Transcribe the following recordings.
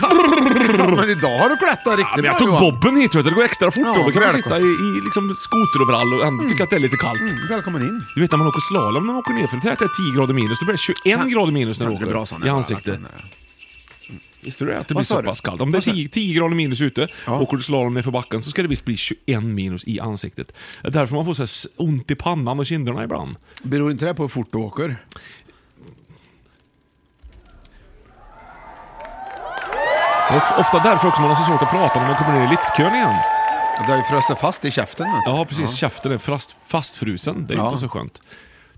Ja, men idag har du klättrat riktigt Ja, men jag bra, tog Johan. bobben hit vet du, det går extra fort Ja, Robert. Kan man välkommen. sitta i, i liksom skoteroverall och ändå tycka att det är lite kallt. Mm, Välkommen in. Du vet när man åker slalom när man åker nerför, det här är 10 grader minus, då blir det 21 grader minus när du Tack, det är bra, åker Sanne. i Bra, ansiktet. Sanne. Visste du det? Att det Vad blir sa så du? pass kallt. Om det är Vad sa 10, 10 grader minus ute, Ja. åker du slalom nerför backen så ska det visst bli 21 minus i ansiktet. Det är därför man får så här s- ont i pannan och kinderna ibland. Beror inte det på hur fort du åker? Det är ofta därför också man har så svårt att prata när man kommer ner i liftkön igen. Det har ju frusit fast i käften. vet du. Ja, precis. Käften är fast, fastfrusen. Det är Ja. inte så skönt.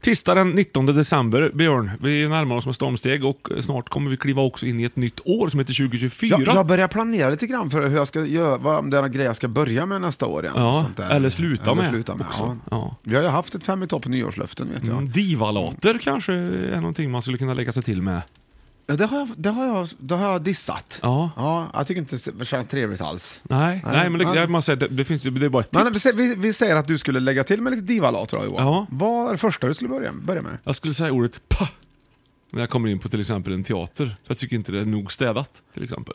Tisdag den 19 december, Björn. Vi närmar oss med stormsteg och snart kommer vi kliva också in i ett nytt år som heter 2024. Jag, jag börjar planera lite grann för hur jag ska göra, vad om det är några grejer jag ska börja med nästa år. Igen, Ja, och sånt där. eller sluta med sluta med också. Ja. Ja. Vi har ju haft ett fem i topp nyårslöften vet jag. Mm, Divalater kanske är någonting man skulle kunna lägga sig till med. Ja, det, har jag, det, har jag, det har jag dissat. Ja. ja jag tycker inte det känns trevligt alls. Nej, nej, Nej, men det, nej. jag, man säger, det, det, finns, ju- det är bara ett tips. Men vi, sä- vi, vi säger att du skulle lägga till med lite divalat då Johan. Ja. Vad är det första du skulle börja, börja med? Jag skulle säga ordet pa när jag kommer in på till exempel en teater. För jag tycker inte det är nog städat till exempel.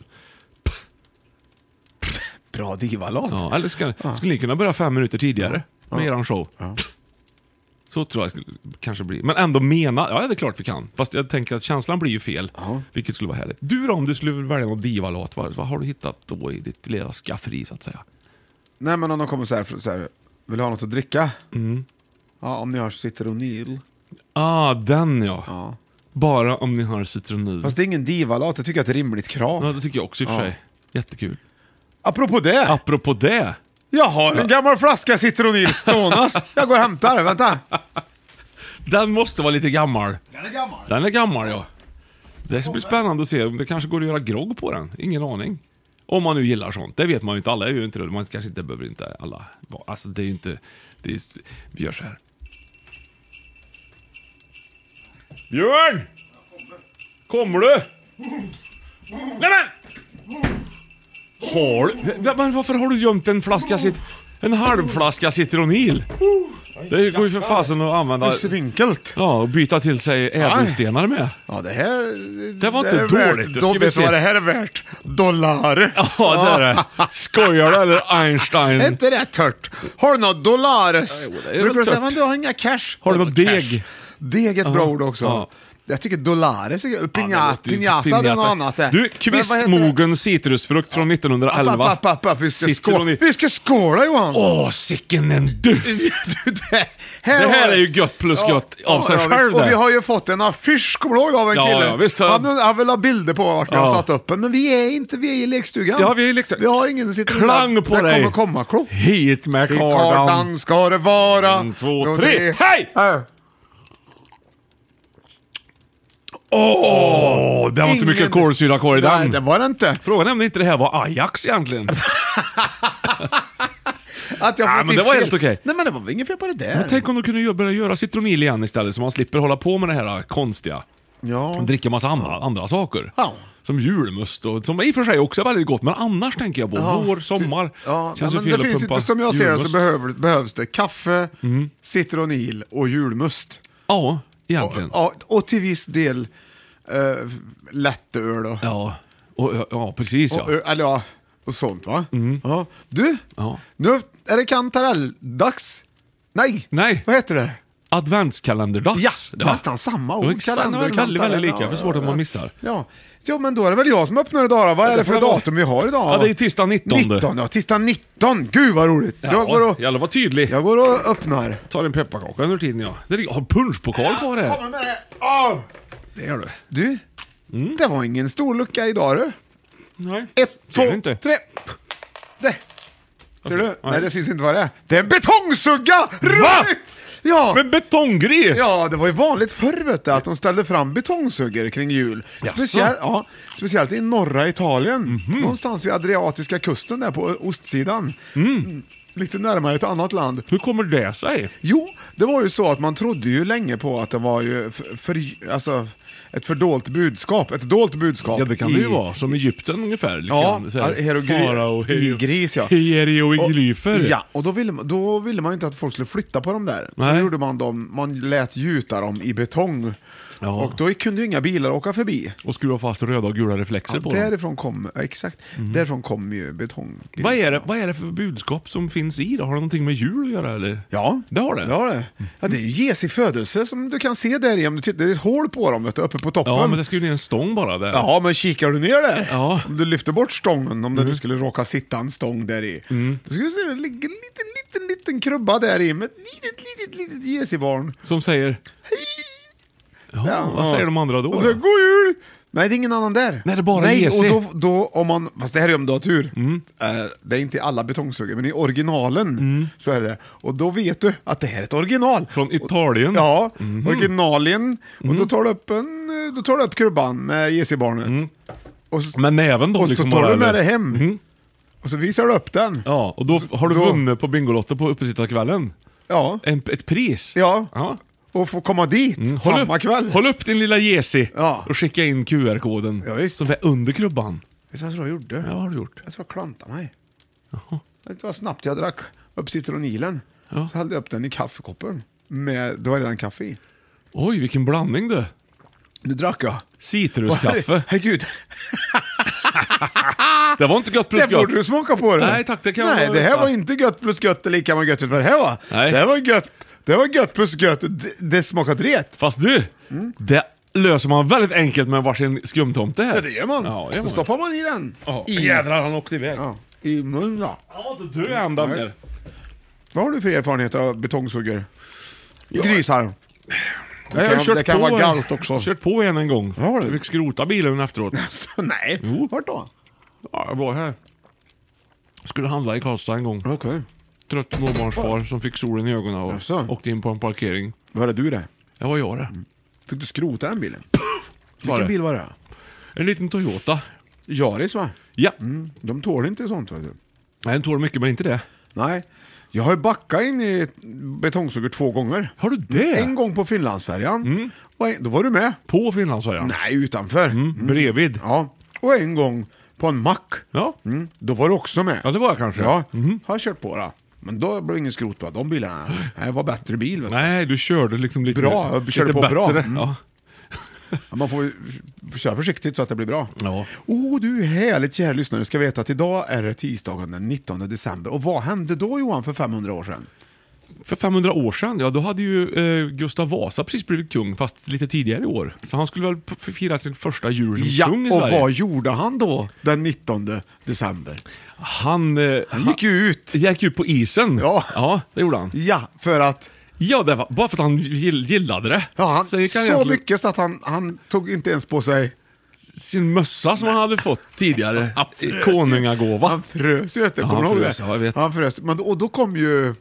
Bra divalat. Ja, eller ska, skulle ni kunna börja fem minuter tidigare med eran show? Ja. Så tror jag skulle, kanske blir. Men ändå mena, ja det är klart vi kan. Fast jag tänker att känslan blir ju fel. Vilket skulle vara härligt. Du då, om du skulle välja någon divalåt, vad, vad har du hittat då i ditt lilla skafferi så att säga? Nej men om de kommer så här, så här vill du ha något att dricka? Mm. Ja, om ni har sitter och nil. Ah, den ja. Ja. Bara om ni har citronil. Fast det är ingen divalat, det tycker jag är ett rimligt krav. Ja, det tycker jag också i och för Ja. sig. Jättekul. Apropå det, Apropå det. jag har en gammal flaska citronil stånas. jag går och hämtar, vänta. Den måste vara lite gammal. Den är gammal. Den är gammal ja. Det ska bli spännande att se om det kanske går att göra grogg på den. Ingen aning. Om man nu gillar sånt. Det vet man ju inte. Alla är ju inte det. Man kanske inte behöver inte alla. vara- Alltså det är ju inte... Det är, just- vi gör så här. Björn! Kommer du? Nej men! Har du- Va- Men varför har du gömt en flaska cit... En halvflaska citronil? Det går ju för fasen att använda... Svinkelt. Ja, och byta till sig ädelstenar med. Ja, det här... Det var är inte värt- dåligt, då Då ska vi vet du se. vad det här är värt. Dollares. Ja, det är det. Skojar du eller Är Einstein? inte det tört? Har du något dollares? Mm. Jo, det är Brukar väl du säga tört. men du har inga cash? Har du Det något var cash. deg? Deg är ett bra Ja. ord också. Ja. Jag tycker dollares är Ja, pinjata, det låter ju pinjata, det är något pinjata. annat det. Du, Men vad heter det? kvistmogen citrusfrukt från App, 1911. app, app, app, vi, ska Sitter skåla. hon i- vi ska skåla Johan! Åh, sicken en duft! Du, det, Det här har- är ju gött plus gött av sig ja, själv visst. Och det. vi har ju fått en affisch, kommer du ihåg det, av en Ja, kille? ja, visst har jag- han, han vill ha bilder på vart vi Ja. har satt upp den, men vi är inte, vi är i lekstugan. Ja, vi är i lekstugan. Vi har ingen som sitter Klang på det dig! kommer komma kloff. Hit med I kardan. kartan ska det vara. En, två, Och tre. Hej! Äh, Åh, det var inte mycket Ingen- kolsyra kvar i Nej, det den. var det inte. Frågan är om inte det här var Ajax egentligen. Att jag Ja, fått men i det var fel. helt okej. Nej men det var väl inget fel på det där. Men tänk om de kunde gö- börja göra citronil igen istället, så man slipper hålla på med det här konstiga. Ja. Och dricka massa andra, andra saker. Ja. Som julmust, och, som i och för sig också är väldigt gott, men annars tänker jag på vår, sommar. Ja, känns nej, ju men fel det att finns pumpa ju, som jag ser det så julmust. Mm. behöver, behövs det kaffe, citronil och julmust. Ja, Och, egentligen. ja, och till viss del eh, lättöl och, Ja, och, ja precis ja. och, eh, eller, ja, och sånt va. Ja. Du, Mm. Ja. nu är det kantarell-dags. Nej. Nej. vad heter det? Adventskalenderdags. Ja, det var- nästan samma Det var ord. exakt- det var Kalender och väldigt, väldigt kantarell. lika, Ja, för svårt ja, att man ja. missar. Ja. ja, men då är det väl jag som öppnar idag då. Vad är det det får för det vara. datum vi har idag? Ja, det är tisdag 19. 19, ja. Tisdag 19. Gud vad roligt. Ja, jag, går och, jävlar vad tydlig. jag går och öppnar. Ta din pepparkaka under tiden ja. Det ligger, har punschpokal kvar här. med det. Åh! Det gör du. Du, Mm. det var ingen stor lucka idag du. Nej. Ett, Ser två, du inte? tre. Det. Ser du? Nej. Nej, det syns inte vad det är. Det är en betongsugga! Roligt! Ja. Men betonggris! Ja, det var ju vanligt förr vet du, att de ställde fram betongsuggor kring jul. Jaså? Mhm. Speciellt, ja, speciellt i norra Italien, någonstans vid Adriatiska kusten där på ostsidan. Mm, Lite närmare ett annat land. Hur kommer det sig? Jo, det var ju så att man trodde ju länge på att det var ju för, för, alltså, ett fördolt budskap. Ett dolt budskap. Ja det kan i, det ju vara, som Egypten ungefär. lite Ja, grann, så här, hierogry- farao, hie- hierogris, ja. Hieroglyfer. Och, ja, och då ville, man- då ville man ju inte att folk skulle flytta på dem där. Så Nej. då gjorde man dem, man lät gjuta dem i betong. Ja. Och då kunde ju inga bilar åka förbi. Och skruva fast röda och gula reflexer Ja, på dem. Mhm. därifrån kom, ja, exakt, därifrån kom ju betong. Vad är, det, vad är det för budskap som finns i det? Har det någonting med jul att göra eller? Ja, Det har det? det, har det. Ja, det är ju Jesi födelse som du kan se där i om du tittar. Det är ett hål på dem vet du, uppe på toppen. Ja, men det ska ju ner en stång bara där. Ja, men kikar du ner där, Ja. Mhm. om du lyfter bort stången, om det nu skulle råka sitta en stång där i, Mm. då skulle du se det ligger en liten, liten, liten krubba där i med ett litet, litet, litet Jesi-barn. Som säger... Ja, Ja. vad säger de andra då? Och så, då? God jul! Nej, det är ingen annan där. Nej, det är bara Nej, Jesi. Mm. och då, då om man, fast det här är om du har tur. Eh, det är inte i alla betongsuggor, men i originalen så är det. Och då vet du att det här är ett original. Mm. Från Mhm. Mm. Italien? Ja, originalen. Och då tar du upp, en, eh, då tar du upp krubban med Jesi-barnet. Och, så, Med näven Mm. då och liksom så tar bara, du med eller? dig hem. Och så visar du upp den. Ja, och då har du Då- vunnit på Bingolotto på uppesittarkvällen. Ja. En, ett pris. Ja. ja. Mm. Och får komma dit Håll samma upp, kväll. Håll upp din lilla Jesi Ja. och skicka in QR-koden Ja, visst. som är under krubban. Vet du vad jag tror jag gjorde? Ja, vad har du gjort? Jag tror jag klantade mig. Vet du vad snabbt jag drack upp citronilen? Ja. Så hällde jag upp den i kaffekoppen. Med, det var redan kaffe i. Oj, vilken blandning du. Nu drack jag. Citruskaffe. Herregud, Det var inte gött plus det gött. borde du smaka på du. Nej, tack, det kan jag Nej, bara det här veta. var inte gött plus gött, det är lika med gött för det här va? Nej. Det var gött, det var gött plus gött, det, det smakar dret. Fast du, Mm. det löser man väldigt enkelt med varsin skumtomte här. Ja, det gör man. Ja, det Då gör man. stoppar man i den. Ja, I, Jädrar, han åkte iväg. ja, I munnen va? Han var inte död än, den Nej. där. Vad har du för erfarenhet av betongsuggor? Grisar? Jag kan- har kört det kan på vara en- galt också. kört på en en gång. Ja, har du? Jag fick skrota bilen efteråt. Så, nej, Jo. vart då? Ja, jag var här. Skulle handla i Karlstad en gång. Okej. Trött småbarnsfar som fick solen i ögonen och Jaså? åkte in på en parkering. Var är du det? Det var jag det. Fick du skrota den bilen? Var det? Vilken bil var det? En liten Toyota. Jaris va? Ja. Mm, De tål inte sånt vet du. Nej, den tål mycket men inte det. Nej. Jag har ju backat in i betongsuggor två gånger. Har du det? En gång på Finlandsfärjan. Och en, då var du med? På Finland sa jag. Nej, utanför. Mm, Bredvid. Ja. Och en gång på en mack. Ja. Mm. Då var du också med. ja, det var Mm. jag kanske. Ja, har jag kört på då. Men då blev det ingen skrot på de bilarna. Nej, det var bättre bil. Vet du. Nej, du körde liksom lite Bra, jag lite körde på bättre. bra. Mm. Ja. Man får ju köra försiktigt så att det blir bra. Ja. Åh du härligt kära lyssnare, ska veta att idag är det tisdagen den 19 december. Och vad hände då Johan för 500 år sedan? För 500 år sedan, ja då hade ju eh, Gustav Vasa precis blivit kung, fast lite tidigare i år. Så han skulle väl p- fira sin första jul som Ja, kung i och Sverige. vad gjorde han då den 19 december? Han, eh, Han gick ju ut. gick ut på isen. Ja. ja, det gjorde han. Ja, för att Ja, det var bara för att han gill- gillade det. ja, han, så så, gick han egentligen- mycket så att han, han tog inte ens på sig... sin mössa som han hade fått tidigare. Han frös ju. Konungagåva. Han frös ju, vet du. Ja, Kommer han du ihåg frös, det? ja, jag vet. Han frös. Men, och då kom ju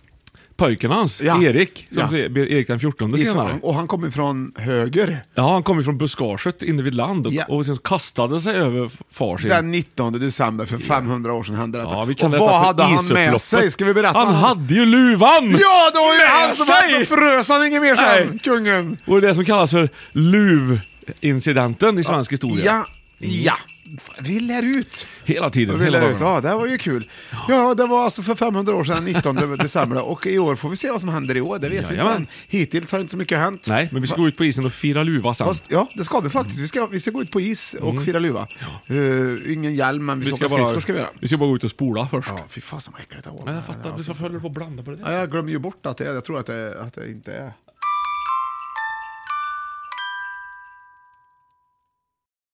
pojken hans, Ja. Erik, som Ja. ser- blir Erik den 14 senare. Och han kommer från höger. Ja, han kom ju från buskaget inne vid land och, Ja. och sen kastade sig över far sin. Den 19 december för 500 år sedan hände detta. Ja, vi kan och detta vad för hade han med isupploppet. sig? Ska vi berätta? Han hade ju luvan! Ja, det var ju Med han som sig! var så frös han inget mer sen, Nej. kungen. Och det är det som kallas för luvincidenten i svensk historia. Ja, ja. Vi lär ut. Hela tiden, Vi hela lär ut. dagarna. Ja, det här var ju kul. Ja, det var alltså för 500 år sedan, 19 december. Och i år får vi se vad som händer i år, det vet vi inte Jajamän. än. Hittills har inte så mycket hänt. Nej, men vi ska gå ut på isen och fira luva sen. Fast, ja, det ska vi faktiskt. Vi ska, vi ska gå ut på is och fira luva. Eh, ingen hjälm, men vi, Mm. Vi ska ska, åka skridskor ska vi bara, göra. vi ska bara gå ut och spola först. Ja, fy fasen vad äckligt det var. alltså. Men jag fattar, varför håller du på att blanda på det där? Ja, jag glömmer ju bort att det är, jag tror att det, att det inte är.